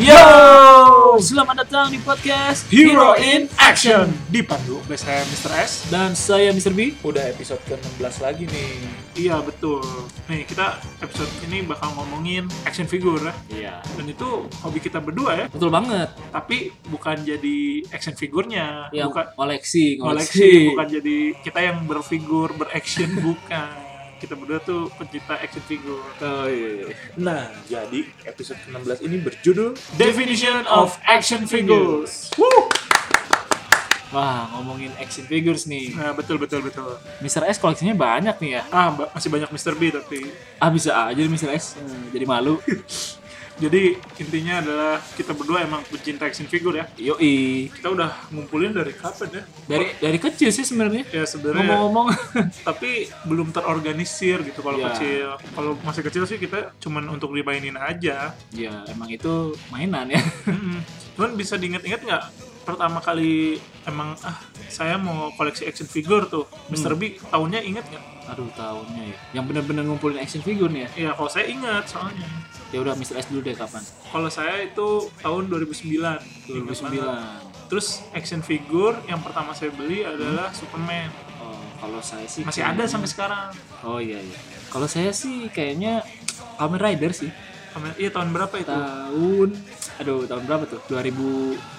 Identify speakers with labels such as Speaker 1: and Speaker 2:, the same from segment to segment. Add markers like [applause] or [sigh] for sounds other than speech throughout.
Speaker 1: Yo, selamat datang di podcast
Speaker 2: Hero in Action dipandu oleh saya Mr. S.
Speaker 1: dan saya Mr. B.
Speaker 3: Udah episode ke-16 lagi nih.
Speaker 2: Iya betul. Nih kita episode ini bakal ngomongin action figure ya.
Speaker 3: Iya.
Speaker 2: dan itu hobi kita berdua ya.
Speaker 1: Betul banget.
Speaker 2: Tapi bukan jadi action figurnya,
Speaker 1: Yang
Speaker 2: bukan
Speaker 1: koleksi,
Speaker 2: koleksi,
Speaker 1: koleksi.
Speaker 2: bukan jadi kita yang berfigur beraction [laughs] bukan. Kita berdua tuh pencinta action figure.
Speaker 3: Oh iya. Nah, jadi episode ke-16 ini berjudul
Speaker 2: Definition of action figures.
Speaker 1: Wah, ngomongin action figures nih.
Speaker 2: Nah, betul betul betul.
Speaker 1: Mr. S koleksinya banyak nih ya.
Speaker 2: Ah, ba- masih banyak Mr. B tapi
Speaker 1: Ah, bisa aja nih Mr. S.
Speaker 3: Hmm.
Speaker 1: Eh, Jadi malu.
Speaker 2: jadi intinya adalah kita berdua emang pencinta action figure ya.
Speaker 1: Yoi.
Speaker 2: Kita udah ngumpulin dari kapan ya?
Speaker 1: Dari dari kecil sih sebenarnya.
Speaker 2: Ya sebenarnya,
Speaker 1: Ngomong-ngomong. [laughs]
Speaker 2: tapi belum terorganisir gitu kalau
Speaker 1: Iya.
Speaker 2: kecil. Kalau masih kecil sih kita cuman untuk dimainin aja.
Speaker 1: ya, emang itu mainan ya.
Speaker 2: Mm-mm. Cuman bisa diinget-inget nggak pertama kali emang ah saya mau koleksi action figure tuh, Mr. B tahunnya inget nggak?
Speaker 1: Aduh, tahunnya ya. Yang bener-bener ngumpulin action figure nih ya.
Speaker 2: Ya kalau saya ingat soalnya.
Speaker 1: Ya udah Mr. S dulu deh kapan.
Speaker 2: Kalau saya itu tahun 2009. Ingat
Speaker 1: 2009.
Speaker 2: banget. Terus action figure yang pertama saya beli adalah Superman.
Speaker 1: Oh, kalau saya sih
Speaker 2: Masih
Speaker 1: kayaknya-
Speaker 2: ada sampai sekarang.
Speaker 1: Oh iya iya. Kalau saya sih kayaknya Kamen Rider sih.
Speaker 2: Kamen- Iya tahun berapa itu?
Speaker 1: Tahun aduh tahun berapa tuh?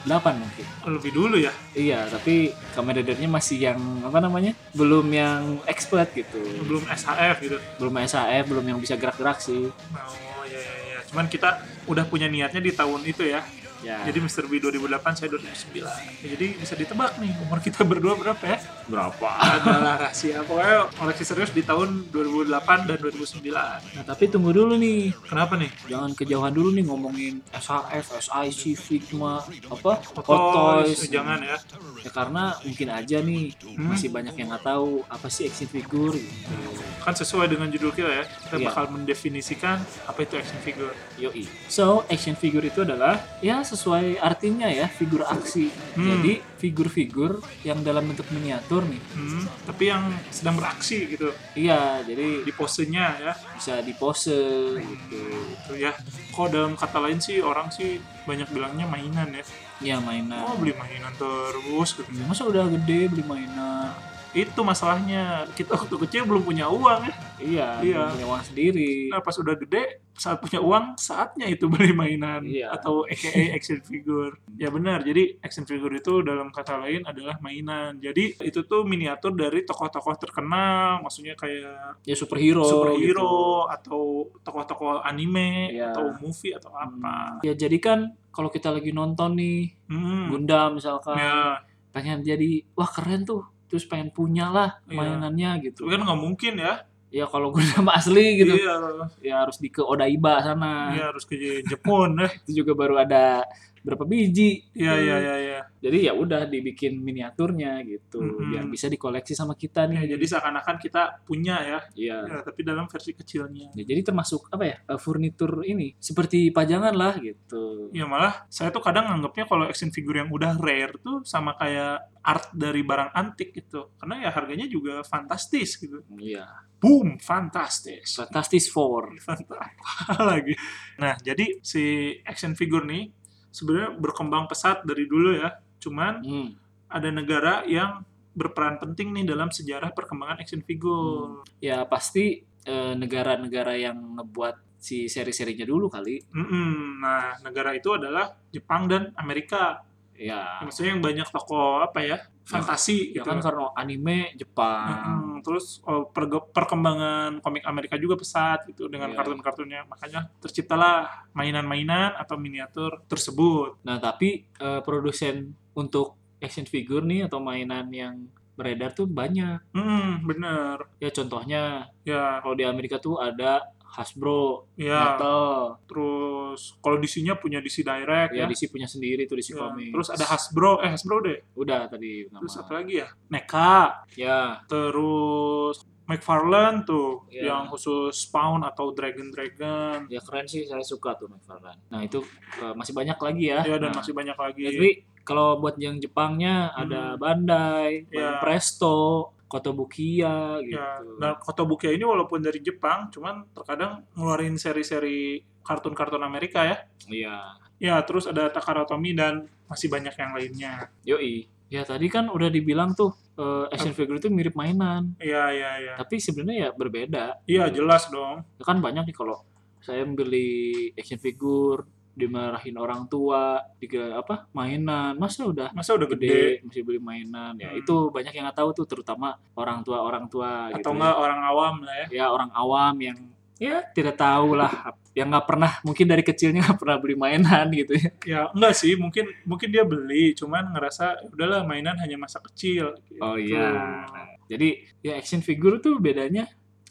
Speaker 1: 2008 mungkin.
Speaker 2: Lebih dulu ya.
Speaker 1: Iya, tapi Kamen Ridernya masih yang apa namanya? Belum yang expert gitu.
Speaker 2: Belum SHF gitu.
Speaker 1: Belum SAF, belum yang bisa gerak-gerak sih.
Speaker 2: Oh ya ya ya. Cuman kita udah punya niatnya di tahun itu ya.
Speaker 1: Ya.
Speaker 2: Jadi Mr. B 2008 saya 2009. Ya, jadi bisa ditebak nih umur kita berdua berapa ya?
Speaker 3: berapa?
Speaker 2: Adalah rahasia pokoknya koleksi serius di tahun 2008 dan 2009.
Speaker 1: nah, tapi tunggu dulu nih.
Speaker 2: Kenapa nih?
Speaker 1: Jangan kejauhan dulu nih ngomongin SAF, SIC, Figma, apa? Hot
Speaker 2: Otois,
Speaker 1: Toys.
Speaker 2: jangan ya.
Speaker 1: Ya karena mungkin aja nih
Speaker 2: Hmm?
Speaker 1: masih banyak yang nggak tahu apa sih action figure gitu.
Speaker 2: Kan sesuai dengan judul kita ya. Kita
Speaker 1: Iya.
Speaker 2: bakal mendefinisikan apa itu action figure.
Speaker 1: Yoi. So, action figure itu adalah ya sesuai artinya ya, figur aksi.
Speaker 2: Hmm.
Speaker 1: Jadi, figur-figur yang dalam bentuk miniatur nih.
Speaker 2: Hmm, tapi yang sedang beraksi gitu
Speaker 1: Iya, jadi
Speaker 2: di posenya ya.
Speaker 1: bisa dipose gitu.
Speaker 2: Gitu ya. Kok dalam kata lain sih orang sih banyak bilangnya mainan ya.
Speaker 1: Ya
Speaker 2: Oh
Speaker 1: mainan.
Speaker 2: beli mainan terus gitu.
Speaker 1: Ya, masa udah gede beli mainan?
Speaker 2: itu masalahnya kita waktu kecil belum punya uang ya
Speaker 1: Iya,
Speaker 2: Iya.
Speaker 1: belum punya uang sendiri.
Speaker 2: nah pas udah gede saat punya uang saatnya itu [laughs] beli mainan
Speaker 1: Iya.
Speaker 2: atau aka action figure ya benar jadi action figure itu dalam kata lain adalah mainan jadi itu tuh miniatur dari tokoh-tokoh terkenal maksudnya kayak
Speaker 1: Ya superhero.
Speaker 2: superhero atau tokoh-tokoh anime
Speaker 1: Iya.
Speaker 2: atau movie atau
Speaker 1: gitu.
Speaker 2: apa
Speaker 1: Ya jadi kan kalau kita lagi nonton nih
Speaker 2: hmm.
Speaker 1: Gundam misalkan
Speaker 2: ya
Speaker 1: pengen jadi wah keren tuh terus pengen punya lah
Speaker 2: Iya.
Speaker 1: mainannya
Speaker 2: itu
Speaker 1: gitu
Speaker 2: kan nggak mungkin ya
Speaker 1: ya kalau [laughs] Gundam asli gitu
Speaker 2: iya
Speaker 1: ya harus di ke Odaiba sana
Speaker 2: iya, harus ke Jepun ya
Speaker 1: itu juga baru ada berapa biji
Speaker 2: iya iya iya iya
Speaker 1: jadi ya udah dibikin miniaturnya gitu
Speaker 2: Mm-mm.
Speaker 1: biar bisa dikoleksi sama kita
Speaker 2: Ya,
Speaker 1: nih
Speaker 2: jadi seakan-akan kita punya ya
Speaker 1: Iya.
Speaker 2: Ya, tapi dalam versi kecilnya.
Speaker 1: Ya, jadi termasuk apa ya eh, furnitur ini seperti pajangan lah gitu
Speaker 2: Ya malah saya tuh kadang nganggapnya kalau action figure yang udah rare tuh sama kayak art dari barang antik gitu. Karena ya harganya juga fantastis gitu.
Speaker 1: Iya,
Speaker 2: Boom, fantastis.
Speaker 1: fantastis four.
Speaker 2: Fantastis [laughs] lagi. Nah, jadi si action figure nih sebenarnya berkembang pesat dari dulu ya. Cuman
Speaker 1: Hmm.
Speaker 2: ada negara yang berperan penting nih dalam sejarah perkembangan action figure.
Speaker 1: Ya pasti eh, negara-negara yang ngebuat si seri-serinya dulu kali.
Speaker 2: Mm-mm. Nah, negara itu adalah Jepang dan Amerika.
Speaker 1: Ya,
Speaker 2: Nah, maksudnya yang banyak toko apa ya fantasi
Speaker 1: ya
Speaker 2: gitu
Speaker 1: kan karena anime Jepang.
Speaker 2: Mm-mm. terus oh, perge- perkembangan komik Amerika juga pesat gitu dengan
Speaker 1: Iya.
Speaker 2: kartun-kartunnya makanya terciptalah mainan-mainan atau miniatur tersebut
Speaker 1: Nah, tapi eh, produsen untuk action figure nih atau mainan yang beredar tuh banyak.
Speaker 2: hmm bener
Speaker 1: Ya contohnya
Speaker 2: ya
Speaker 1: kalau di Amerika tuh ada Hasbro,
Speaker 2: ya
Speaker 1: Mattel,
Speaker 2: terus kalau DC-nya punya DC Direct
Speaker 1: ya
Speaker 2: ya,
Speaker 1: DC punya sendiri tuh DC
Speaker 2: Ya.
Speaker 1: Comics.
Speaker 2: terus ada Hasbro eh Hasbro deh
Speaker 1: udah tadi nama.
Speaker 2: terus apa lagi ya NECA
Speaker 1: Ya,
Speaker 2: terus McFarlane tuh
Speaker 1: Iya.
Speaker 2: yang khusus Spawn atau Dragon Dragon
Speaker 1: ya keren sih saya suka tuh McFarlane. Nah, itu eh, masih banyak lagi ya.
Speaker 2: ya dan
Speaker 1: Nah,
Speaker 2: masih banyak lagi
Speaker 1: ya, tapi kalau buat yang Jepangnya ada Bandai,
Speaker 2: Hmm. Ya.
Speaker 1: Bandai Presto, Kotobukiya gitu.
Speaker 2: Iya, Ya, nah Kotobukiya ini walaupun dari Jepang, cuman terkadang ngeluarin seri-seri kartun-kartun Amerika ya.
Speaker 1: Iya.
Speaker 2: Ya, terus ada Takara Tomy dan masih banyak yang lainnya.
Speaker 1: Yoi. Ya tadi kan udah dibilang tuh eh, action figure itu mirip mainan,
Speaker 2: Iya, iya, iya.
Speaker 1: tapi sebenarnya ya berbeda.
Speaker 2: Iya, jelas dong.
Speaker 1: Ya kan banyak nih kalau saya beli action figure dimarahin orang tua, diga apa mainan, masa udah
Speaker 2: Masa udah gede,
Speaker 1: gede masih beli mainan ya
Speaker 2: Hmm.
Speaker 1: itu banyak yang nggak tahu tuh terutama orang tua orang tua gitu
Speaker 2: atau enggak orang awam lah ya.
Speaker 1: ya orang awam yang ya tidak tahu lah yang nggak pernah mungkin dari kecilnya nggak pernah beli mainan gitu ya
Speaker 2: Ya, enggak sih, mungkin mungkin dia beli, cuman ngerasa "Ya udahlah mainan hanya masa kecil.
Speaker 1: Oh,
Speaker 2: gitu.
Speaker 1: iya. jadi ya action figure tuh bedanya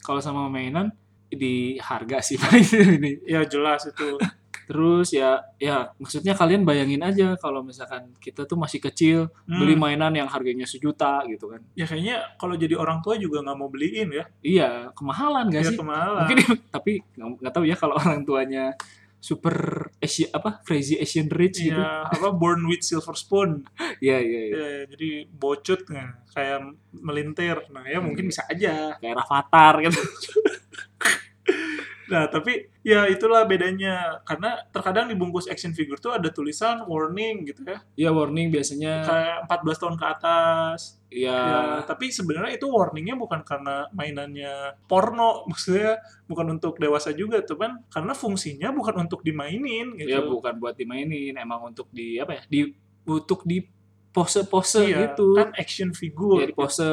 Speaker 1: kalau sama mainan di harga sih [laughs] paling ini
Speaker 2: Ya, jelas itu.
Speaker 1: terus ya ya maksudnya kalian bayangin aja kalau misalkan kita tuh masih kecil [laughs]
Speaker 2: Hmm.
Speaker 1: beli mainan yang harganya sejuta gitu kan
Speaker 2: ya kayaknya kalau jadi orang tua juga nggak mau beliin ya.
Speaker 1: iya kemahalan gak
Speaker 2: Ya
Speaker 1: sih
Speaker 2: kemahalan.
Speaker 1: mungkin [laughs] tapi nggak nggak tahu ya kalau [laughs] orang tuanya super Asia apa crazy Asian rich gitu
Speaker 2: Ya, apa born with silver spoon.
Speaker 1: iya iya iya.
Speaker 2: Ya, jadi bocut nah, kayak melintir. Nah, ya mungkin bisa aja.
Speaker 1: kayak Rafathar [laughs] gitu
Speaker 2: Nah, tapi ya itulah bedanya karena terkadang dibungkus action figure tuh ada tulisan warning gitu ya.
Speaker 1: ya warning biasanya
Speaker 2: Kayak 14 tahun ke atas.
Speaker 1: ya,
Speaker 2: Ya, tapi sebenarnya itu warningnya bukan karena mainannya porno, [laughs] maksudnya bukan untuk dewasa juga, tuh kan karena fungsinya bukan untuk dimainin gitu.
Speaker 1: ya bukan buat dimainin emang untuk di apa ya di untuk di pose-pose
Speaker 2: Iya,
Speaker 1: gitu
Speaker 2: kan action figure.
Speaker 1: ya di pose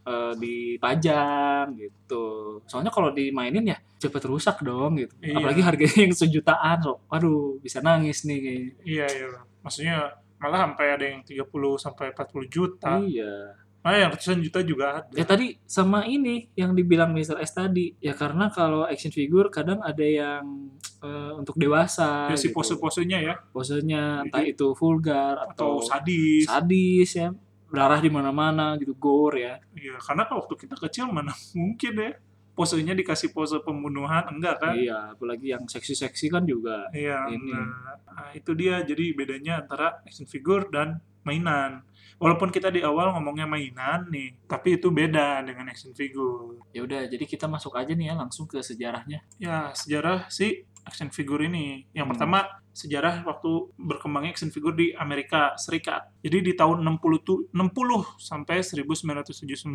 Speaker 1: eh, dipajang gitu soalnya kalau dimainin ya cepet rusak dong gitu
Speaker 2: Iya.
Speaker 1: apalagi harganya yang sejutaan so aduh bisa nangis nih kayaknya.
Speaker 2: Iya, iya. Maksudnya malah sampai ada yang 30 sampai 40 juta.
Speaker 1: iya
Speaker 2: Nah, yang ratusan juta juga ada.
Speaker 1: Ya tadi sama ini yang dibilang Mr. S tadi ya karena kalau action figure kadang ada yang eh, untuk dewasa
Speaker 2: Ya, si
Speaker 1: gitu.
Speaker 2: pose-posenya ya
Speaker 1: posenya
Speaker 2: Jadi-
Speaker 1: entah itu vulgar
Speaker 2: atau
Speaker 1: atau,
Speaker 2: sadis.
Speaker 1: sadis ya darah di mana-mana gitu gore ya
Speaker 2: Iya, karena kalau waktu kita kecil mana [laughs] mungkin ya posenya dikasih pose pembunuhan enggak kan?
Speaker 1: iya apalagi yang seksi-seksi kan juga
Speaker 2: Iya,
Speaker 1: Ini.
Speaker 2: nah, nah, itu dia jadi bedanya antara action figure dan mainan. Walaupun kita di awal ngomongnya mainan nih, tapi itu beda dengan action figure.
Speaker 1: ya udah jadi kita masuk aja nih ya langsung ke sejarahnya
Speaker 2: Ya, sejarah si action figure ini. Yang
Speaker 1: Hmm.
Speaker 2: pertama, sejarah waktu berkembangnya action figure di Amerika Serikat. Jadi di tahun 60 tu- 60 sampai 1979,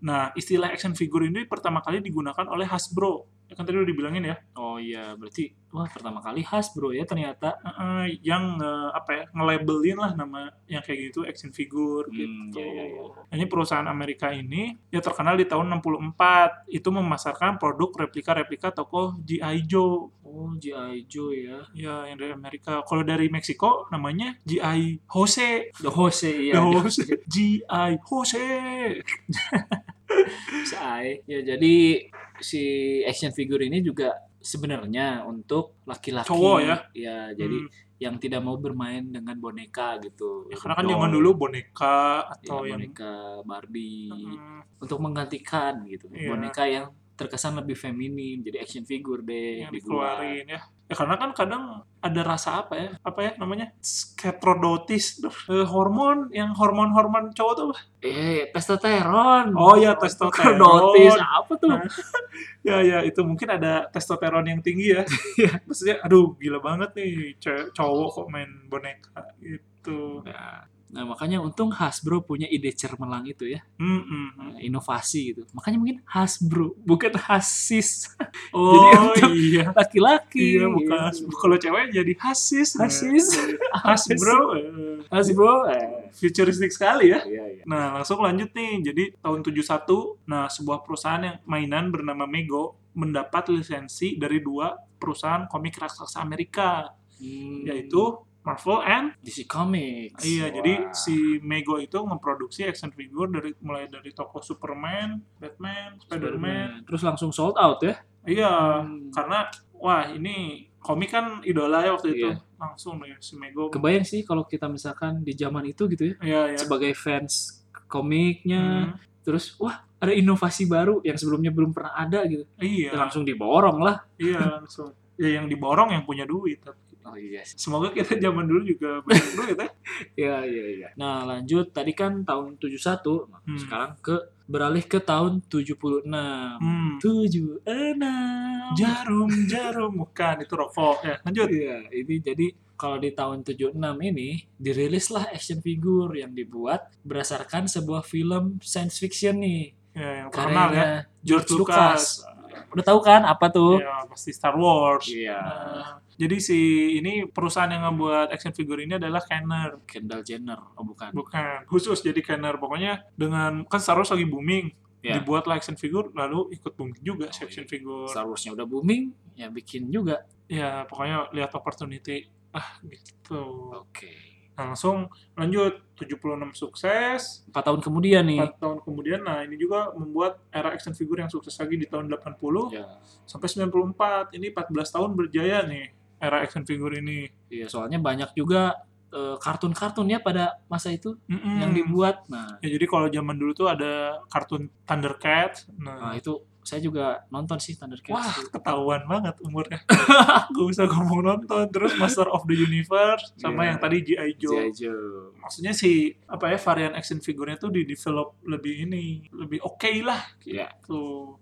Speaker 2: nah istilah action figure ini pertama kali digunakan oleh Hasbro. Ya kan tadi udah dibilangin ya.
Speaker 1: oh iya berarti wah pertama kali khas bro ya ternyata
Speaker 2: Heeh, yang eh, apa ya nge-labelin lah nama yang kayak gitu action figure
Speaker 1: Hmm,
Speaker 2: gitu.
Speaker 1: iya, iya, iya.
Speaker 2: Hanya perusahaan Amerika ini ya terkenal di tahun 64 itu memasarkan produk replika-replika toko G.I. Joe
Speaker 1: oh G.I. Joe ya
Speaker 2: ya yang dari Amerika. Kalau dari Meksiko namanya G.I. Jose.
Speaker 1: The Jose iya
Speaker 2: The Jose. [laughs] G.I. Jose.
Speaker 1: Sai. Ya jadi si action figure ini juga sebenarnya untuk laki-laki. Iya,
Speaker 2: Cowok ya?
Speaker 1: jadi yang tidak mau bermain dengan boneka gitu.
Speaker 2: Hmm, ya, Hmm, karena kan
Speaker 1: Doll.
Speaker 2: zaman dulu boneka
Speaker 1: Ya,
Speaker 2: atau yang
Speaker 1: boneka Barbie
Speaker 2: Hmm,
Speaker 1: untuk menggantikan gitu.
Speaker 2: Iya.
Speaker 1: Boneka yang terkesan lebih feminim. Jadi action figure deh
Speaker 2: yang
Speaker 1: dibuat.
Speaker 2: dikeluarin ya. Ya karena kan kadang ada rasa apa ya? Apa ya namanya? Sketrodotis. Eh, hormon yang hormon-hormon cowok tuh apa?
Speaker 1: Eh, testosteron.
Speaker 2: Oh ya testosteron.
Speaker 1: Dotis apa tuh?
Speaker 2: Nah. Ya ya itu mungkin ada testosteron yang tinggi
Speaker 1: [laughs]
Speaker 2: ya. [laughs] Maksudnya aduh gila banget nih ce- cowok kok main boneka gitu.
Speaker 1: Nah, Nah, makanya untung Hasbro punya ide cermelang itu ya.
Speaker 2: Hmm, hmm, hmm.
Speaker 1: Nah, inovasi gitu. Makanya mungkin Hasbro, bukan Hasis. [laughs]
Speaker 2: Oh
Speaker 1: untuk-
Speaker 2: iya.
Speaker 1: Laki-laki.
Speaker 2: Iya bukan
Speaker 1: gitu.
Speaker 2: kalau cewek jadi hasis. nah. [laughs]
Speaker 1: Hasis.
Speaker 2: Hasis bro. Eh,
Speaker 1: Hasbro. eh.
Speaker 2: Futuristik sekali ya.
Speaker 1: Iya, iya.
Speaker 2: Nah, langsung lanjut nih. Jadi tahun 71, nah sebuah perusahaan yang mainan bernama Mego mendapat lisensi dari dua perusahaan komik raksasa Amerika,
Speaker 1: Hmm,
Speaker 2: yaitu Marvel and
Speaker 1: DC Comics.
Speaker 2: Ya,
Speaker 1: Wah.
Speaker 2: iya jadi si Mego itu memproduksi action figure dari mulai dari tokoh Superman, Batman, Spiderman.
Speaker 1: Spider-Man. Terus langsung sold out ya.
Speaker 2: Iya,
Speaker 1: Hmm.
Speaker 2: karena wah ini komik kan idola ya waktu itu.
Speaker 1: Iya.
Speaker 2: Langsung nih si Mego.
Speaker 1: Kebayang sih kalau kita misalkan di zaman itu gitu ya,
Speaker 2: Iya, iya.
Speaker 1: sebagai fans komiknya,
Speaker 2: Hmm,
Speaker 1: terus wah ada inovasi baru yang sebelumnya belum pernah ada gitu.
Speaker 2: iya,
Speaker 1: Ya, langsung diborong lah.
Speaker 2: iya langsung. Ya yang diborong yang punya duit.
Speaker 1: Oh iya sih.
Speaker 2: Semoga kita zaman dulu juga banyak duit ya.
Speaker 1: Iya, iya, iya. Nah, lanjut tadi kan tahun 71, nah,
Speaker 2: Hmm.
Speaker 1: sekarang ke beralih ke tahun 76.
Speaker 2: Hmm.
Speaker 1: 76.
Speaker 2: [laughs] Jarum, jarum, bukan itu rokok ya. Lanjut.
Speaker 1: Iya, ini jadi kalau di tahun 76 ini dirilislah action figure yang dibuat berdasarkan sebuah film science fiction nih.
Speaker 2: Ya, yang terkenal ya.
Speaker 1: Karyanya
Speaker 2: George Lucas.
Speaker 1: Udah tahu kan apa tuh?
Speaker 2: Ya, pasti Star Wars.
Speaker 1: Iya.
Speaker 2: Nah, jadi si ini perusahaan yang ngebuat action figure ini adalah Kenner,
Speaker 1: Kendall Jenner, oh bukan.
Speaker 2: bukan khusus jadi Kenner. Pokoknya dengan kan Star Wars lagi booming,
Speaker 1: Ya.
Speaker 2: dibuatlah action figure lalu ikut booming juga si
Speaker 1: Oh,
Speaker 2: action
Speaker 1: iya.
Speaker 2: figure.
Speaker 1: Star Wars-nya udah booming, ya bikin juga.
Speaker 2: Ya, pokoknya lihat opportunity. Ah, gitu.
Speaker 1: Oke.
Speaker 2: Nah, langsung lanjut 76 sukses.
Speaker 1: Empat tahun kemudian nih.
Speaker 2: 4 tahun kemudian nah ini juga membuat era action figure yang sukses lagi di tahun 80
Speaker 1: Ya.
Speaker 2: sampai 94. Ini 14 tahun berjaya nih era action figure ini.
Speaker 1: Iya, soalnya banyak juga eh, kartun-kartun ya pada masa itu
Speaker 2: Mm-mm.
Speaker 1: yang dibuat. Nah,
Speaker 2: Ya, jadi kalau zaman dulu tuh ada kartun Thundercat.
Speaker 1: nah
Speaker 2: Nah,
Speaker 1: itu saya juga nonton sih Thundercats.
Speaker 2: wah
Speaker 1: itu.
Speaker 2: ketahuan banget umurnya. [laughs] Gak usah ngomong nonton. Terus Master of the Universe
Speaker 1: Iya.
Speaker 2: sama yang tadi G.I. Joe.
Speaker 1: G.I. Joe.
Speaker 2: Maksudnya si apa ya varian action figurnya tuh di develop lebih ini lebih oke lah
Speaker 1: Iya.
Speaker 2: gitu.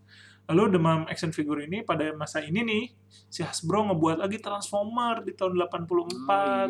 Speaker 2: Lalu demam action figure ini pada masa ini nih si Hasbro ngebuat lagi Transformer di tahun 84.
Speaker 1: Oh,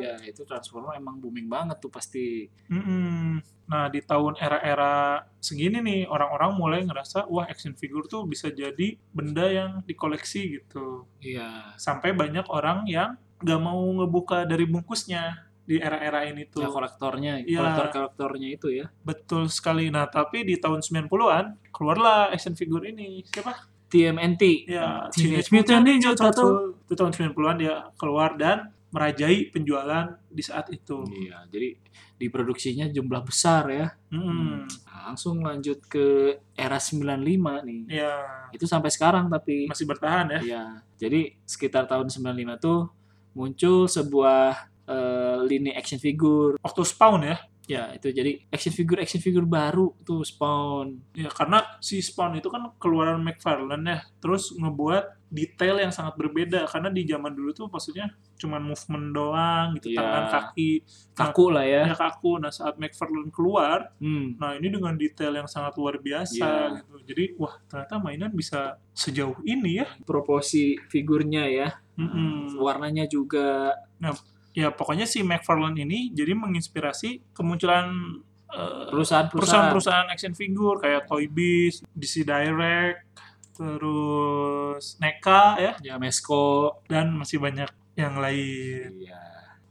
Speaker 1: iya, itu Transformer emang booming banget tuh pasti.
Speaker 2: Mm-mm. Nah, di tahun era-era segini nih, orang-orang mulai ngerasa, wah action figure tuh bisa jadi benda yang dikoleksi gitu.
Speaker 1: Iya.
Speaker 2: Sampai banyak orang yang gak mau ngebuka dari bungkusnya di era-era ini tuh.
Speaker 1: Ya, kolektornya,
Speaker 2: Iya.
Speaker 1: kolektor-kolektornya itu ya.
Speaker 2: Betul sekali. Nah, tapi di tahun 90-an, keluarlah action figure ini. Siapa?
Speaker 1: TMNT. Nah,
Speaker 2: Ya,
Speaker 1: Teenage Mutant Ninja Turtle.
Speaker 2: Turtle. Itu tahun 90-an dia keluar dan merajai penjualan di saat itu.
Speaker 1: Iya, jadi diproduksinya jumlah besar ya.
Speaker 2: Mm-mm.
Speaker 1: Nah, langsung lanjut ke era 95 nih.
Speaker 2: Ya,
Speaker 1: Itu sampai sekarang tapi
Speaker 2: masih bertahan ya.
Speaker 1: Iya, jadi sekitar tahun 95 tuh muncul sebuah eh, lini action figure.
Speaker 2: Octo Spawn ya.
Speaker 1: Ya, itu jadi action figure action figure baru tuh Spawn.
Speaker 2: Ya karena si Spawn itu kan keluaran McFarlane ya, terus ngebuat detail yang sangat berbeda karena di zaman dulu tuh maksudnya cuman movement doang gitu
Speaker 1: Iya.
Speaker 2: tangan kaki
Speaker 1: Kaku lah ya.
Speaker 2: ya kaku nah saat McFarlane keluar
Speaker 1: Hmm.
Speaker 2: nah ini dengan detail yang sangat luar biasa
Speaker 1: Iya.
Speaker 2: gitu jadi wah ternyata mainan bisa sejauh ini ya
Speaker 1: Proporsi figurnya ya.
Speaker 2: Mm-mm.
Speaker 1: Warnanya juga
Speaker 2: ya pokoknya si McFarlane ini jadi menginspirasi kemunculan eh,
Speaker 1: perusahaan-perusahaan.
Speaker 2: perusahaan-perusahaan action figure kayak Toy Biz, DC Direct, terus NECA ya,
Speaker 1: Ya, Mesko.
Speaker 2: dan masih banyak yang lain.
Speaker 1: Iya.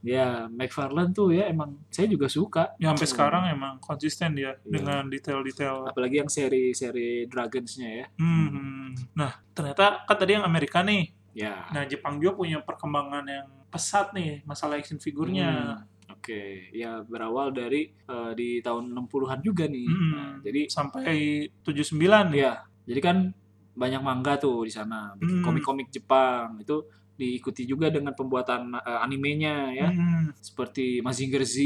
Speaker 1: Ya, McFarlane tuh ya emang saya juga suka.
Speaker 2: Ya sampai
Speaker 1: Hmm.
Speaker 2: sekarang emang konsisten dia
Speaker 1: Iya.
Speaker 2: dengan detail-detail.
Speaker 1: Apalagi yang seri-seri Dragons-nya ya.
Speaker 2: Hmm. Nah, ternyata kan tadi yang Amerika nih.
Speaker 1: Ya.
Speaker 2: Nah, Jepang juga punya perkembangan yang pesat nih masalah action figurnya.
Speaker 1: Hmm. Oke, ya berawal dari eh, di tahun 60-an juga nih.
Speaker 2: Hmm.
Speaker 1: Nah, jadi
Speaker 2: Sampai 79 ya.
Speaker 1: Iya, jadi kan banyak manga tuh di sana, bikin
Speaker 2: Hmm.
Speaker 1: komik-komik Jepang itu diikuti juga dengan pembuatan eh, animenya ya,
Speaker 2: Hmm.
Speaker 1: seperti Mazinger Z,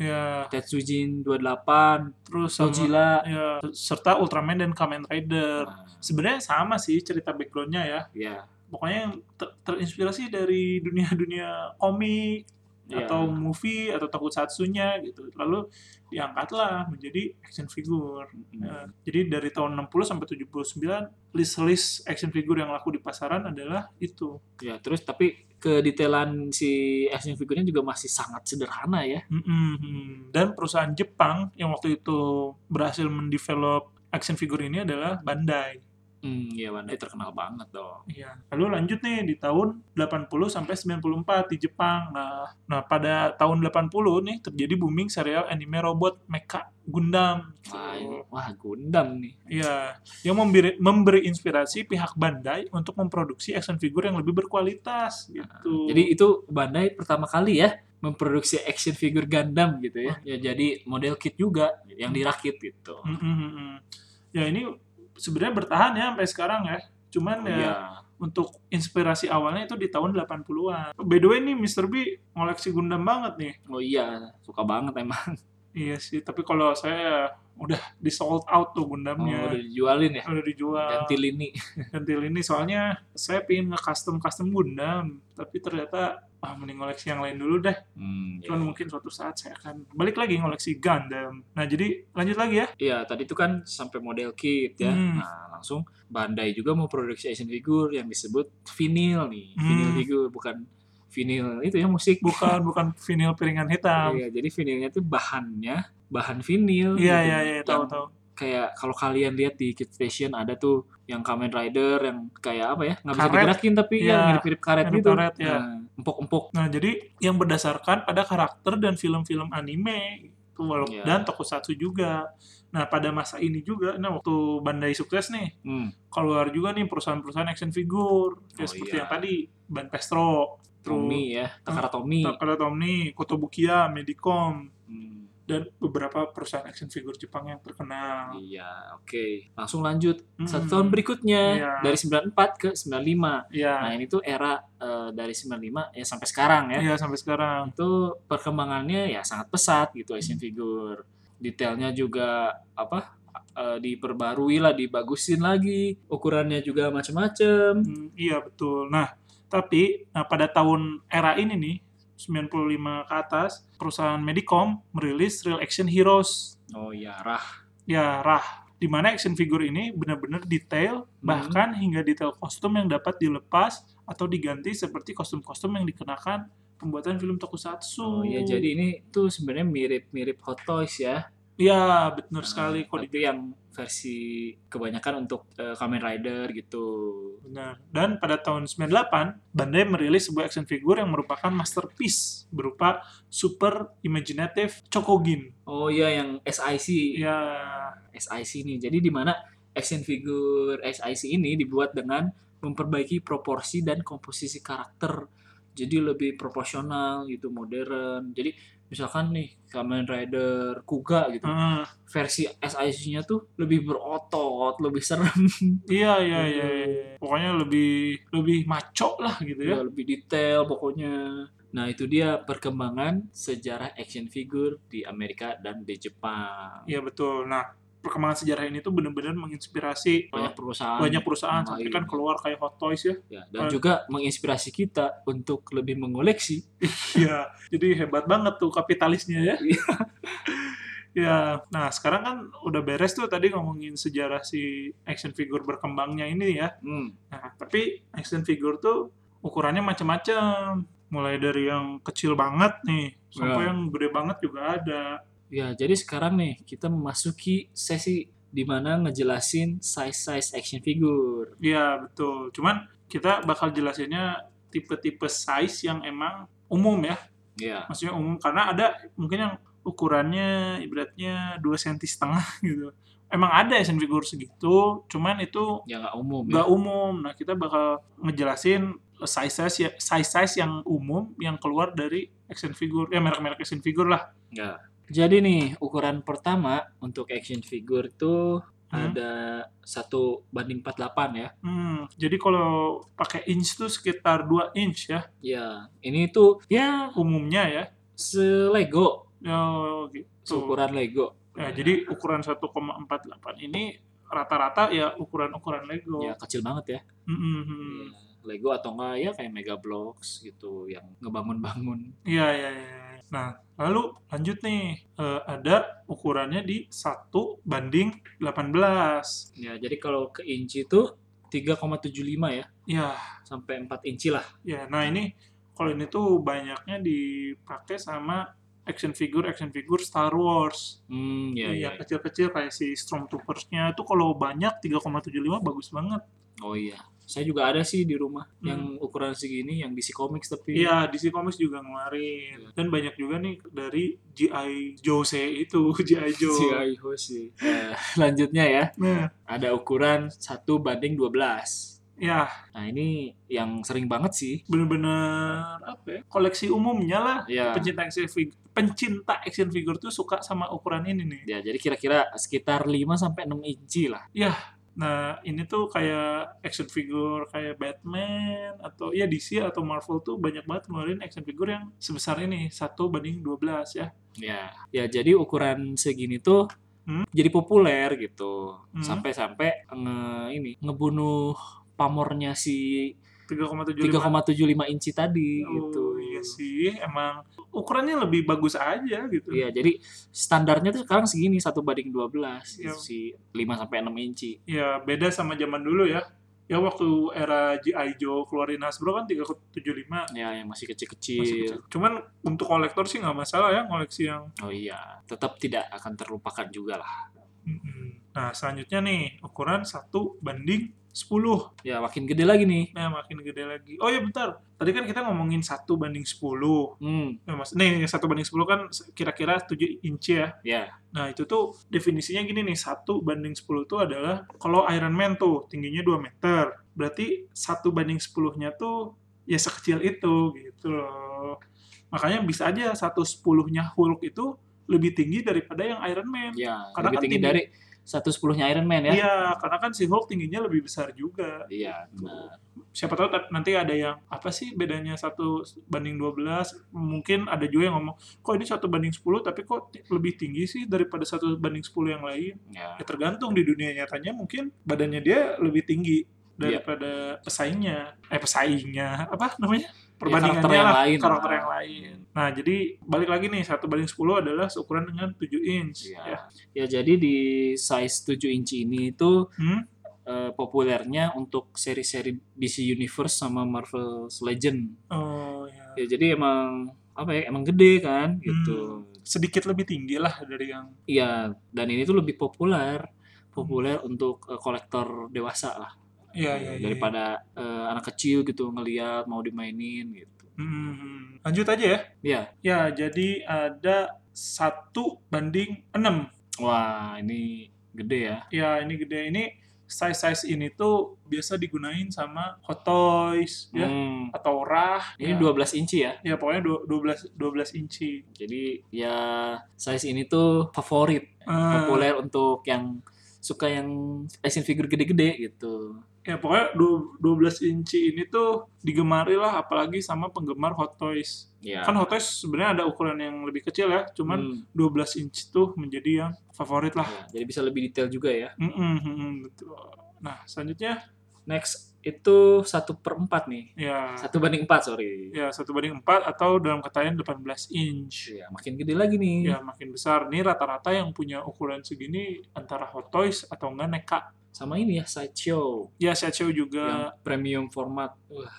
Speaker 2: Ya,
Speaker 1: Tetsujin 28,
Speaker 2: terus sama- iya.
Speaker 1: Sojila.
Speaker 2: ya, serta Ultraman dan Kamen Rider.
Speaker 1: Nah,
Speaker 2: Sebenarnya sama sih cerita backgroundnya ya.
Speaker 1: ya,
Speaker 2: pokoknya yang ter- terinspirasi dari dunia-dunia komik
Speaker 1: ya.
Speaker 2: atau movie atau tokusatsunya gitu lalu diangkatlah menjadi action figure
Speaker 1: Mm.
Speaker 2: Nah, jadi dari tahun 60 sampai 79 list-list action figure yang laku di pasaran adalah itu
Speaker 1: ya, terus tapi kedetailan si action figurnya juga masih sangat sederhana ya.
Speaker 2: Mm-mm. dan perusahaan Jepang yang waktu itu berhasil mendevelop action figure ini adalah Bandai
Speaker 1: Hmm, ya Bandai terkenal banget dong.
Speaker 2: Iya. Lalu lanjut nih di tahun 80 sampai 94 di Jepang. Nah, nah pada tahun 80 nih terjadi booming serial anime robot Mecha Gundam.
Speaker 1: Wah, iya. ini, wah Gundam nih.
Speaker 2: Iya, yang memberi, memberi inspirasi pihak Bandai untuk memproduksi action figure yang lebih berkualitas gitu.
Speaker 1: Ah, Jadi itu Bandai pertama kali ya memproduksi action figure Gundam gitu ya. Ya jadi model kit juga yang dirakit gitu.
Speaker 2: Mm, mm, mm, mm. ya ini sebenarnya bertahan ya sampai sekarang ya. Cuman ya
Speaker 1: Iya.
Speaker 2: untuk inspirasi awalnya itu di tahun 80-an. By the way nih Mr. B ngoleksi Gundam banget nih.
Speaker 1: Oh iya, suka banget emang.
Speaker 2: Iya sih, tapi kalau saya udah di sold out tuh
Speaker 1: Oh, udah
Speaker 2: Gundamnya.
Speaker 1: dijualin ya.
Speaker 2: udah. dijual.
Speaker 1: Ganti lini.
Speaker 2: Ganti lini soalnya saya pingin nge-custom custom Gundam, tapi ternyata ah mending ngoleksi yang lain dulu dah.
Speaker 1: Hmm,
Speaker 2: Cuman mungkin suatu saat saya akan balik lagi ngoleksi Gundam. Nah jadi lanjut lagi ya.
Speaker 1: Iya, tadi itu kan sampai model kit ya.
Speaker 2: Hmm.
Speaker 1: Nah, langsung Bandai juga mau produksi action figure yang disebut vinyl nih.
Speaker 2: Hmm.
Speaker 1: Vinyl figure bukan vinyl itu ya musik.
Speaker 2: Bukan [laughs] bukan vinyl piringan hitam.
Speaker 1: Iya, jadi vinylnya itu bahannya bahan vinil.
Speaker 2: Iya
Speaker 1: gitu.
Speaker 2: iya iya tahu
Speaker 1: Yang
Speaker 2: tahu.
Speaker 1: Kayak kalau kalian lihat di Kid Station ada tuh yang Kamen Rider yang kayak apa ya? nggak bisa
Speaker 2: Karet.
Speaker 1: digerakin tapi
Speaker 2: Iya,
Speaker 1: yang mirip-mirip karet
Speaker 2: mirip
Speaker 1: gitu.
Speaker 2: karet, ya.
Speaker 1: Nah, empuk-empuk.
Speaker 2: Nah jadi yang berdasarkan pada karakter dan film-film anime gitu, walau-
Speaker 1: Iya.
Speaker 2: dan tokusatsu juga. Nah pada masa ini juga, nah waktu Bandai sukses nih,
Speaker 1: Hmm.
Speaker 2: keluar juga nih perusahaan-perusahaan action figure kayak
Speaker 1: Oh,
Speaker 2: seperti
Speaker 1: iya.
Speaker 2: yang tadi Ban Pestro, terus
Speaker 1: Tommy ya, Takara
Speaker 2: Hmm.
Speaker 1: Tommy.
Speaker 2: Takara Tommy, Kotobukiya, Medicom
Speaker 1: Hmm.
Speaker 2: dan beberapa perusahaan action figure Jepang yang terkenal.
Speaker 1: Iya, oke. Langsung lanjut
Speaker 2: Hmm.
Speaker 1: satu tahun berikutnya
Speaker 2: Iya.
Speaker 1: dari 94 ke 95. Nah,
Speaker 2: Iya,
Speaker 1: ini tuh era eh, dari 95 ya sampai sekarang ya.
Speaker 2: iya sampai sekarang.
Speaker 1: Itu perkembangannya ya sangat pesat gitu action
Speaker 2: Hmm.
Speaker 1: figure. Detailnya juga apa? eh, diperbarui lah, dibagusin lagi. Ukurannya juga macam-macam.
Speaker 2: Hmm, iya betul. Nah, tapi nah, pada tahun era ini nih 95 ke atas, perusahaan Medicom merilis Real Action Heroes.
Speaker 1: Oh iya, Rah.
Speaker 2: Ya, Rah. Di mana action figure ini benar-benar detail,
Speaker 1: Hmm.
Speaker 2: bahkan hingga detail kostum yang dapat dilepas atau diganti seperti kostum-kostum yang dikenakan pembuatan film
Speaker 1: Oh
Speaker 2: tokusatsu.
Speaker 1: iya, jadi ini tuh sebenarnya mirip-mirip Hot Toys ya.
Speaker 2: Iya,
Speaker 1: Nah,
Speaker 2: benar sekali kok
Speaker 1: Tapi yang versi kebanyakan untuk eh, Kamen Rider gitu.
Speaker 2: Benar. Dan pada tahun 98, Bandai merilis sebuah action figure yang merupakan masterpiece berupa Super Imaginative Chokugin.
Speaker 1: Oh iya, yang SIC.
Speaker 2: Ya,
Speaker 1: SIC nih. Jadi di mana action figure SIC ini dibuat dengan memperbaiki proporsi dan komposisi karakter. Jadi lebih proporsional gitu, modern. Jadi misalkan nih Kamen Rider Kuga gitu.
Speaker 2: eh,
Speaker 1: Versi SIC-nya tuh lebih berotot, lebih serem,
Speaker 2: iya, iya, iya, iya. Pokoknya lebih lebih maco lah gitu ya.
Speaker 1: ya, lebih detail pokoknya. Nah, itu dia perkembangan sejarah action figure di Amerika dan di Jepang.
Speaker 2: Iya, betul. Nah, perkembangan sejarah ini tuh benar-benar menginspirasi
Speaker 1: Banyak perusahaan
Speaker 2: Ah, banyak perusahaan
Speaker 1: yang
Speaker 2: sampai
Speaker 1: lain.
Speaker 2: kan keluar kayak Hot Toys ya. [laughs]
Speaker 1: ya, dan
Speaker 2: banyak-
Speaker 1: juga menginspirasi kita untuk lebih mengoleksi
Speaker 2: Iya, jadi hebat banget tuh kapitalisnya ya. [laughs]
Speaker 1: Iya.
Speaker 2: Ya, nah sekarang kan udah beres tuh tadi ngomongin sejarah si action figure berkembangnya ini ya.
Speaker 1: Hmm.
Speaker 2: Nah, tapi action figure tuh ukurannya macam-macam. Mulai dari yang kecil banget nih, sampai
Speaker 1: Ya.
Speaker 2: yang gede banget juga ada.
Speaker 1: Ya, jadi sekarang nih kita memasuki sesi di mana ngejelasin size-size action figure.
Speaker 2: Iya, betul. Cuman kita bakal jelasinnya tipe-tipe size yang emang umum ya.
Speaker 1: Ya.
Speaker 2: Maksudnya umum karena ada mungkin yang ukurannya ibaratnya 2 cm setengah [laughs] gitu. Emang ada action figure segitu, cuman itu
Speaker 1: Ya nggak umum ya.
Speaker 2: nggak umum. Nah, kita bakal ngejelasin size-size ya- size-size yang umum yang keluar dari action figure, ya merek-merek action figure lah.
Speaker 1: Ya. Jadi nih ukuran pertama untuk action figure tuh
Speaker 2: Hmm.
Speaker 1: ada satu banding 48 ya.
Speaker 2: Hmm, jadi kalau pakai inch tuh sekitar 2 inch ya
Speaker 1: Ya, ini tuh ya
Speaker 2: umumnya ya.
Speaker 1: selego,
Speaker 2: Oh, gitu.
Speaker 1: seukuran Lego.
Speaker 2: Ya, jadi ukuran 1,48 ini rata-rata ya ukuran-ukuran Lego.
Speaker 1: Ya kecil banget ya.
Speaker 2: Mm, mm, mm.
Speaker 1: Lego atau enggak ya kayak Mega Blocks gitu yang ngebangun-bangun.
Speaker 2: Iya, iya, iya. Nah, lalu lanjut nih. Eh, ada ukurannya di 1 banding 18.
Speaker 1: Ya, jadi kalau ke inci tuh 3,75 ya
Speaker 2: Ya,
Speaker 1: sampai 4 inci lah.
Speaker 2: ya. Nah, ini kalau ini tuh banyaknya dipakai sama action figure action figure Star Wars.
Speaker 1: Hmm, ya, ya,
Speaker 2: Iya, kecil-kecil kayak si Stormtroopers-nya itu kalau banyak 3,75 bagus banget.
Speaker 1: Oh iya, saya juga ada sih di rumah
Speaker 2: Hmm.
Speaker 1: yang ukuran segini yang DC Comics tapi
Speaker 2: Iya, DC Comics juga ngeluarin. Dan banyak juga nih dari G.I. Joe saya itu, [laughs] G.I. Joe.
Speaker 1: [laughs] si Aiho sih. Eh, lanjutnya ya, [laughs]
Speaker 2: Nah,
Speaker 1: ada ukuran 1 banding 12.
Speaker 2: ya
Speaker 1: Nah, ini yang sering banget sih.
Speaker 2: bener-bener apa ya, koleksi umumnya lah.
Speaker 1: Ya.
Speaker 2: Pencinta action, fig- pencinta action figure tuh suka sama ukuran ini nih.
Speaker 1: Ya, jadi kira-kira sekitar 5 sampai 6 inci lah.
Speaker 2: Nah, ini tuh kayak action figure kayak Batman atau ya DC atau Marvel tuh banyak banget ngeluarin action figure yang sebesar ini, 1 banding 12 ya.
Speaker 1: Ya. Ya, jadi ukuran segini tuh
Speaker 2: Hmm.
Speaker 1: jadi populer gitu.
Speaker 2: Hmm.
Speaker 1: Sampai-sampai nge ini ngebunuh pamornya si
Speaker 2: 3,75
Speaker 1: 3,75 inci tadi gitu.
Speaker 2: iya Iya sih, emang ukurannya lebih bagus aja gitu.
Speaker 1: Iya, jadi standarnya tuh sekarang segini satu banding 12
Speaker 2: Iya.
Speaker 1: itu sih 5 sampai 6 inci.
Speaker 2: Ya beda sama zaman dulu ya. Ya waktu era G.I. Joe keluarin Hasbro kan 375
Speaker 1: Ya, yang masih
Speaker 2: masih
Speaker 1: kecil-kecil.
Speaker 2: kecil. Cuman untuk kolektor sih nggak masalah ya koleksi yang.
Speaker 1: Oh iya, tetap tidak akan terlupakan juga lah.
Speaker 2: Mm-mm. Nah selanjutnya nih ukuran 1 banding 10.
Speaker 1: Ya, makin gede lagi nih.
Speaker 2: Nah makin gede lagi. Oh ya bentar. Tadi kan kita ngomongin 1 banding 10.
Speaker 1: Hmm,
Speaker 2: Nah, mas, nih 1 banding 10 kan kira-kira 7 inci ya.
Speaker 1: ya.
Speaker 2: Nah itu tuh definisinya gini nih. 1 banding 10 itu adalah kalau Iron Man tuh tingginya 2 meter. Berarti 1 banding 10-nya tuh ya sekecil itu gitu loh. Makanya bisa aja 1 10-nya Hulk itu lebih tinggi daripada yang Iron Man.
Speaker 1: Ya,
Speaker 2: Karena
Speaker 1: lebih
Speaker 2: kan
Speaker 1: tinggi
Speaker 2: tinggi.
Speaker 1: dari 110-nya Iron Man ya.
Speaker 2: Iya, karena kan si Hulk tingginya lebih besar juga.
Speaker 1: Iya, benar.
Speaker 2: Siapa tahu tat- nanti ada yang apa sih bedanya satu banding 12? Mungkin ada juga yang ngomong, "Kok ini satu banding 10 tapi kok ti- lebih tinggi sih daripada satu banding 10 yang lain?"
Speaker 1: Ya.
Speaker 2: Ya tergantung di dunia nyatanya mungkin badannya dia lebih tinggi daripada pesaingnya. Eh pesaingnya, apa namanya? Perbandingannya
Speaker 1: Ya, karakter yang
Speaker 2: lah,
Speaker 1: lain. Ah.
Speaker 2: karakter yang lain. Nah, jadi balik lagi nih satu banding 10 adalah seukuran dengan 7 inch.
Speaker 1: Iya.
Speaker 2: Ya.
Speaker 1: Ya, jadi di size 7 inci ini itu
Speaker 2: Hmm?
Speaker 1: eh, populernya untuk seri-seri DC Universe sama Marvel Legend.
Speaker 2: Oh, ya.
Speaker 1: Ya, jadi emang apa ya? Emang gede kan gitu.
Speaker 2: Hmm. Sedikit lebih tinggi lah dari yang
Speaker 1: Iya, dan ini tuh lebih populer populer untuk eh, kolektor dewasa lah
Speaker 2: Iya, iya, iya.
Speaker 1: daripada eh, anak kecil gitu ngeliat mau dimainin gitu.
Speaker 2: Hmm, lanjut aja ya.
Speaker 1: Iya.
Speaker 2: Ya, jadi ada satu banding 6.
Speaker 1: Wah, ini gede ya.
Speaker 2: Ya, ini gede. Ini size-size ini tuh biasa digunain sama Hot Toys, ya.
Speaker 1: Hmm,
Speaker 2: Atau Rah.
Speaker 1: Ini
Speaker 2: ya.
Speaker 1: 12 inci ya.
Speaker 2: Ya, pokoknya dua- 12, 12 inci.
Speaker 1: Jadi ya size ini tuh favorit,
Speaker 2: Eh,
Speaker 1: populer untuk yang suka yang action figure gede-gede gitu.
Speaker 2: Ya, pokoknya du- 12 inci ini tuh digemari lah, apalagi sama penggemar Hot Toys.
Speaker 1: Iya.
Speaker 2: Kan Hot Toys sebenarnya ada ukuran yang lebih kecil ya, cuman
Speaker 1: Hmm,
Speaker 2: 12 inci tuh menjadi yang favorit lah.
Speaker 1: ya, Jadi bisa lebih detail juga ya.
Speaker 2: Mm-mm, mm-mm, betul. Nah, selanjutnya
Speaker 1: Next itu satu per empat nih.
Speaker 2: ya
Speaker 1: Satu banding empat sorry.
Speaker 2: ya satu banding 4 atau dalam katanya 18 inch.
Speaker 1: Iya, makin gede lagi nih.
Speaker 2: Ya makin besar. Ini rata-rata yang punya ukuran segini antara Hot Toys atau enggak Neka.
Speaker 1: Sama ini ya sideshow
Speaker 2: Ya Sideshow
Speaker 1: yang
Speaker 2: juga.
Speaker 1: premium format. Wah,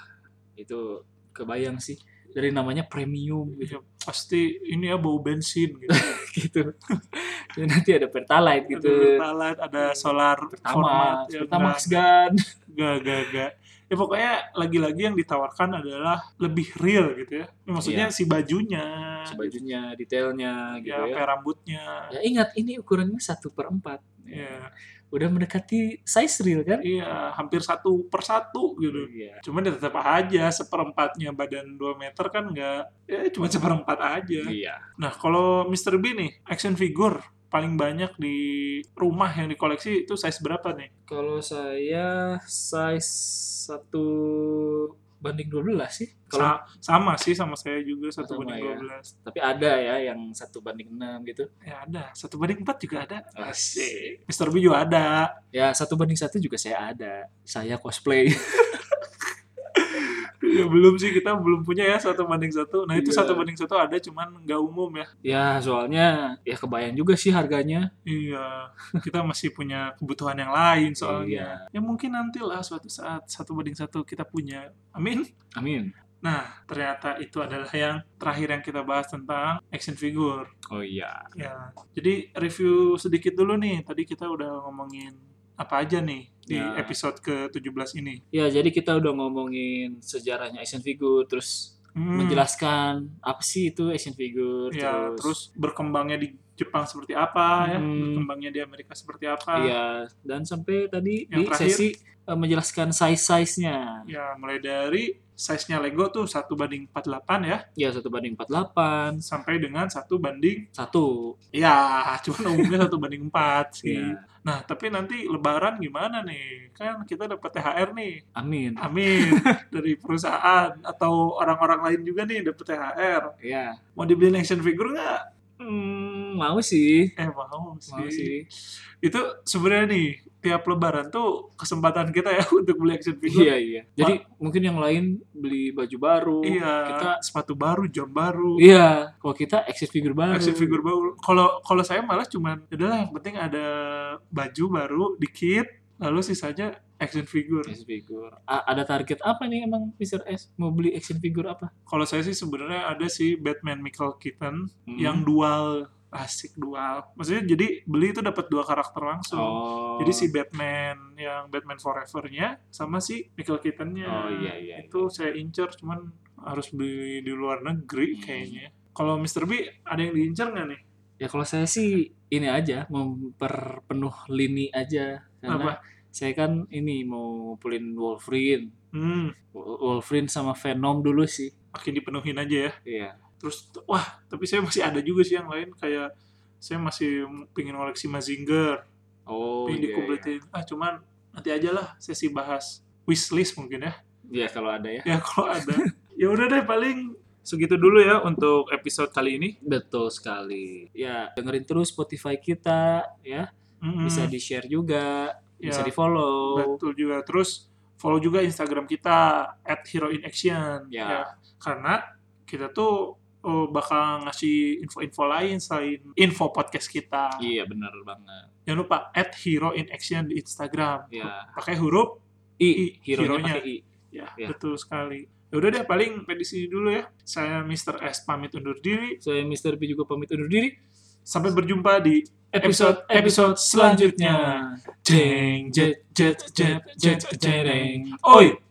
Speaker 1: itu kebayang sih dari namanya premium gitu.
Speaker 2: ya, pasti ini ya bau bensin gitu.
Speaker 1: [laughs] gitu. Dan nanti ada pertalite
Speaker 2: ada
Speaker 1: [laughs] gitu.
Speaker 2: pertalite, ada solar format.
Speaker 1: Pertamax,
Speaker 2: Iya. ya,
Speaker 1: Pertamax kan.
Speaker 2: enggak,
Speaker 1: Gun.
Speaker 2: enggak, enggak, enggak. Ya pokoknya lagi-lagi yang ditawarkan adalah lebih real gitu ya. Maksudnya si bajunya,
Speaker 1: Iya. Bajunya, detailnya gitu
Speaker 2: ya,
Speaker 1: ya.
Speaker 2: kayak rambutnya.
Speaker 1: Ya ingat ini ukurannya satu per empat. Iya.
Speaker 2: Ya.
Speaker 1: Udah mendekati size real kan?
Speaker 2: Iya, hampir satu per satu gitu.
Speaker 1: Iya.
Speaker 2: Cuman ya tetap aja seperempatnya badan 2 meter kan nggak, ya cuma seperempat aja.
Speaker 1: Iya.
Speaker 2: Nah kalau Mr. B nih, action figure paling banyak di rumah yang dikoleksi itu size berapa nih?
Speaker 1: Kalau saya size satu banding 12 sih. Kalau
Speaker 2: Sa- sama sih sama saya juga satu
Speaker 1: Sama
Speaker 2: banding
Speaker 1: ya.
Speaker 2: 12.
Speaker 1: tapi ada ya yang satu banding 6 gitu.
Speaker 2: Ya ada, satu banding 4 juga ada.
Speaker 1: Asik.
Speaker 2: Mr. B juga ada.
Speaker 1: Ya satu banding satu juga saya ada. Saya cosplay. [laughs]
Speaker 2: Ya belum sih kita belum punya ya satu banding satu. Nah itu
Speaker 1: Iya.
Speaker 2: satu banding satu ada cuman nggak umum ya.
Speaker 1: ya soalnya ya kebayang juga sih harganya.
Speaker 2: Iya, kita masih punya kebutuhan yang lain soalnya.
Speaker 1: Iya.
Speaker 2: Ya mungkin nantilah suatu saat satu banding satu kita punya. Amin.
Speaker 1: Amin.
Speaker 2: Nah, ternyata itu adalah yang terakhir yang kita bahas tentang action figure.
Speaker 1: Oh iya.
Speaker 2: Ya. Jadi review sedikit dulu nih. Tadi kita udah ngomongin apa aja nih di
Speaker 1: Ya.
Speaker 2: episode ke-17 ini.
Speaker 1: Ya jadi kita udah ngomongin sejarahnya action figure terus
Speaker 2: Hmm,
Speaker 1: menjelaskan apa sih itu action figure
Speaker 2: Ya, terus berkembangnya di Jepang seperti apa ya?
Speaker 1: Hmm.
Speaker 2: Berkembangnya di Amerika seperti apa?
Speaker 1: Iya, dan sampai tadi
Speaker 2: Yang
Speaker 1: di
Speaker 2: terakhir.
Speaker 1: sesi eh, menjelaskan size-size-nya.
Speaker 2: Ya, mulai dari size-nya Lego tuh 1 banding 48 ya.
Speaker 1: Ya, satu banding 48,
Speaker 2: sampai dengan satu banding
Speaker 1: satu.
Speaker 2: ya cuman umumnya satu banding empat sih
Speaker 1: Iya.
Speaker 2: nah tapi nanti lebaran gimana nih kan kita dapat thr nih
Speaker 1: Amin. [laughs]
Speaker 2: amin dari perusahaan atau orang-orang lain juga nih dapat thr
Speaker 1: Ya.
Speaker 2: mau dibeliin action figure nggak
Speaker 1: Hmm, mau sih.
Speaker 2: eh mau sih,
Speaker 1: Mau sih.
Speaker 2: itu sebenarnya nih tiap lebaran tuh kesempatan kita ya [laughs] untuk beli action figure.
Speaker 1: Iya iya. Jadi mungkin yang lain beli baju baru.
Speaker 2: Iya.
Speaker 1: Kita
Speaker 2: sepatu baru, jam baru,
Speaker 1: iya. Kalau kita action figure baru.
Speaker 2: action figure baru. Kalau kalau saya malah cuman adalah yang penting ada baju baru dikit, lalu sisanya action figure.
Speaker 1: Action figure. A- ada target apa nih emang Mr. S mau beli action figure apa?
Speaker 2: Kalau saya sih sebenarnya ada si Batman Michael Keaton
Speaker 1: Hmm.
Speaker 2: yang dual asik dual. Maksudnya jadi beli itu dapat dua karakter langsung.
Speaker 1: oh.
Speaker 2: Jadi si Batman yang Batman Forever-nya sama si Michael Keaton-nya.
Speaker 1: Oh iya iya.
Speaker 2: Itu saya incer cuman harus beli di luar negeri
Speaker 1: Hmm.
Speaker 2: kayaknya. Kalau Mr. B ada yang diincer nggak nih?
Speaker 1: Ya kalau saya sih ini aja memperpenuh lini aja karena saya kan ini mau ngumpulin Wolverine.
Speaker 2: Hmm,
Speaker 1: Wol- Wolverine sama Venom dulu sih.
Speaker 2: makin dipenuhin aja ya.
Speaker 1: Iya.
Speaker 2: Terus t- wah, tapi saya masih ada juga sih yang lain kayak saya masih pingin koleksi Mazinger,
Speaker 1: Oh
Speaker 2: pingin
Speaker 1: iya. iya.
Speaker 2: dikumpletin. Ah, cuman nanti aja lah sesi bahas wishlist mungkin ya.
Speaker 1: Iya kalau ada ya.
Speaker 2: Ya [laughs] kalau ada. ya udah deh paling segitu dulu ya untuk episode kali ini.
Speaker 1: Betul sekali. Ya, dengerin terus Spotify kita ya.
Speaker 2: Mm-mm.
Speaker 1: Bisa di-share juga,
Speaker 2: Hmm. Ya.
Speaker 1: bisa di-follow.
Speaker 2: Betul juga. Terus follow juga Instagram kita @heroinaction
Speaker 1: Ya.
Speaker 2: Karena kita tuh oh, bakal ngasih info-info lain selain info podcast kita.
Speaker 1: Iya, benar banget.
Speaker 2: Jangan lupa @heroinaction di Instagram.
Speaker 1: Ya.
Speaker 2: Pakai huruf
Speaker 1: I,
Speaker 2: I,
Speaker 1: hero
Speaker 2: hero-nya.
Speaker 1: I.
Speaker 2: ya,
Speaker 1: Ya.
Speaker 2: betul sekali. Ya udah deh paling sampai di sini dulu ya. Saya Mr. S pamit undur diri.
Speaker 1: Saya Mr. P juga pamit undur diri.
Speaker 2: Sampai berjumpa di episode episode selanjutnya. Jeng jet jet jet jet jeng. Oi,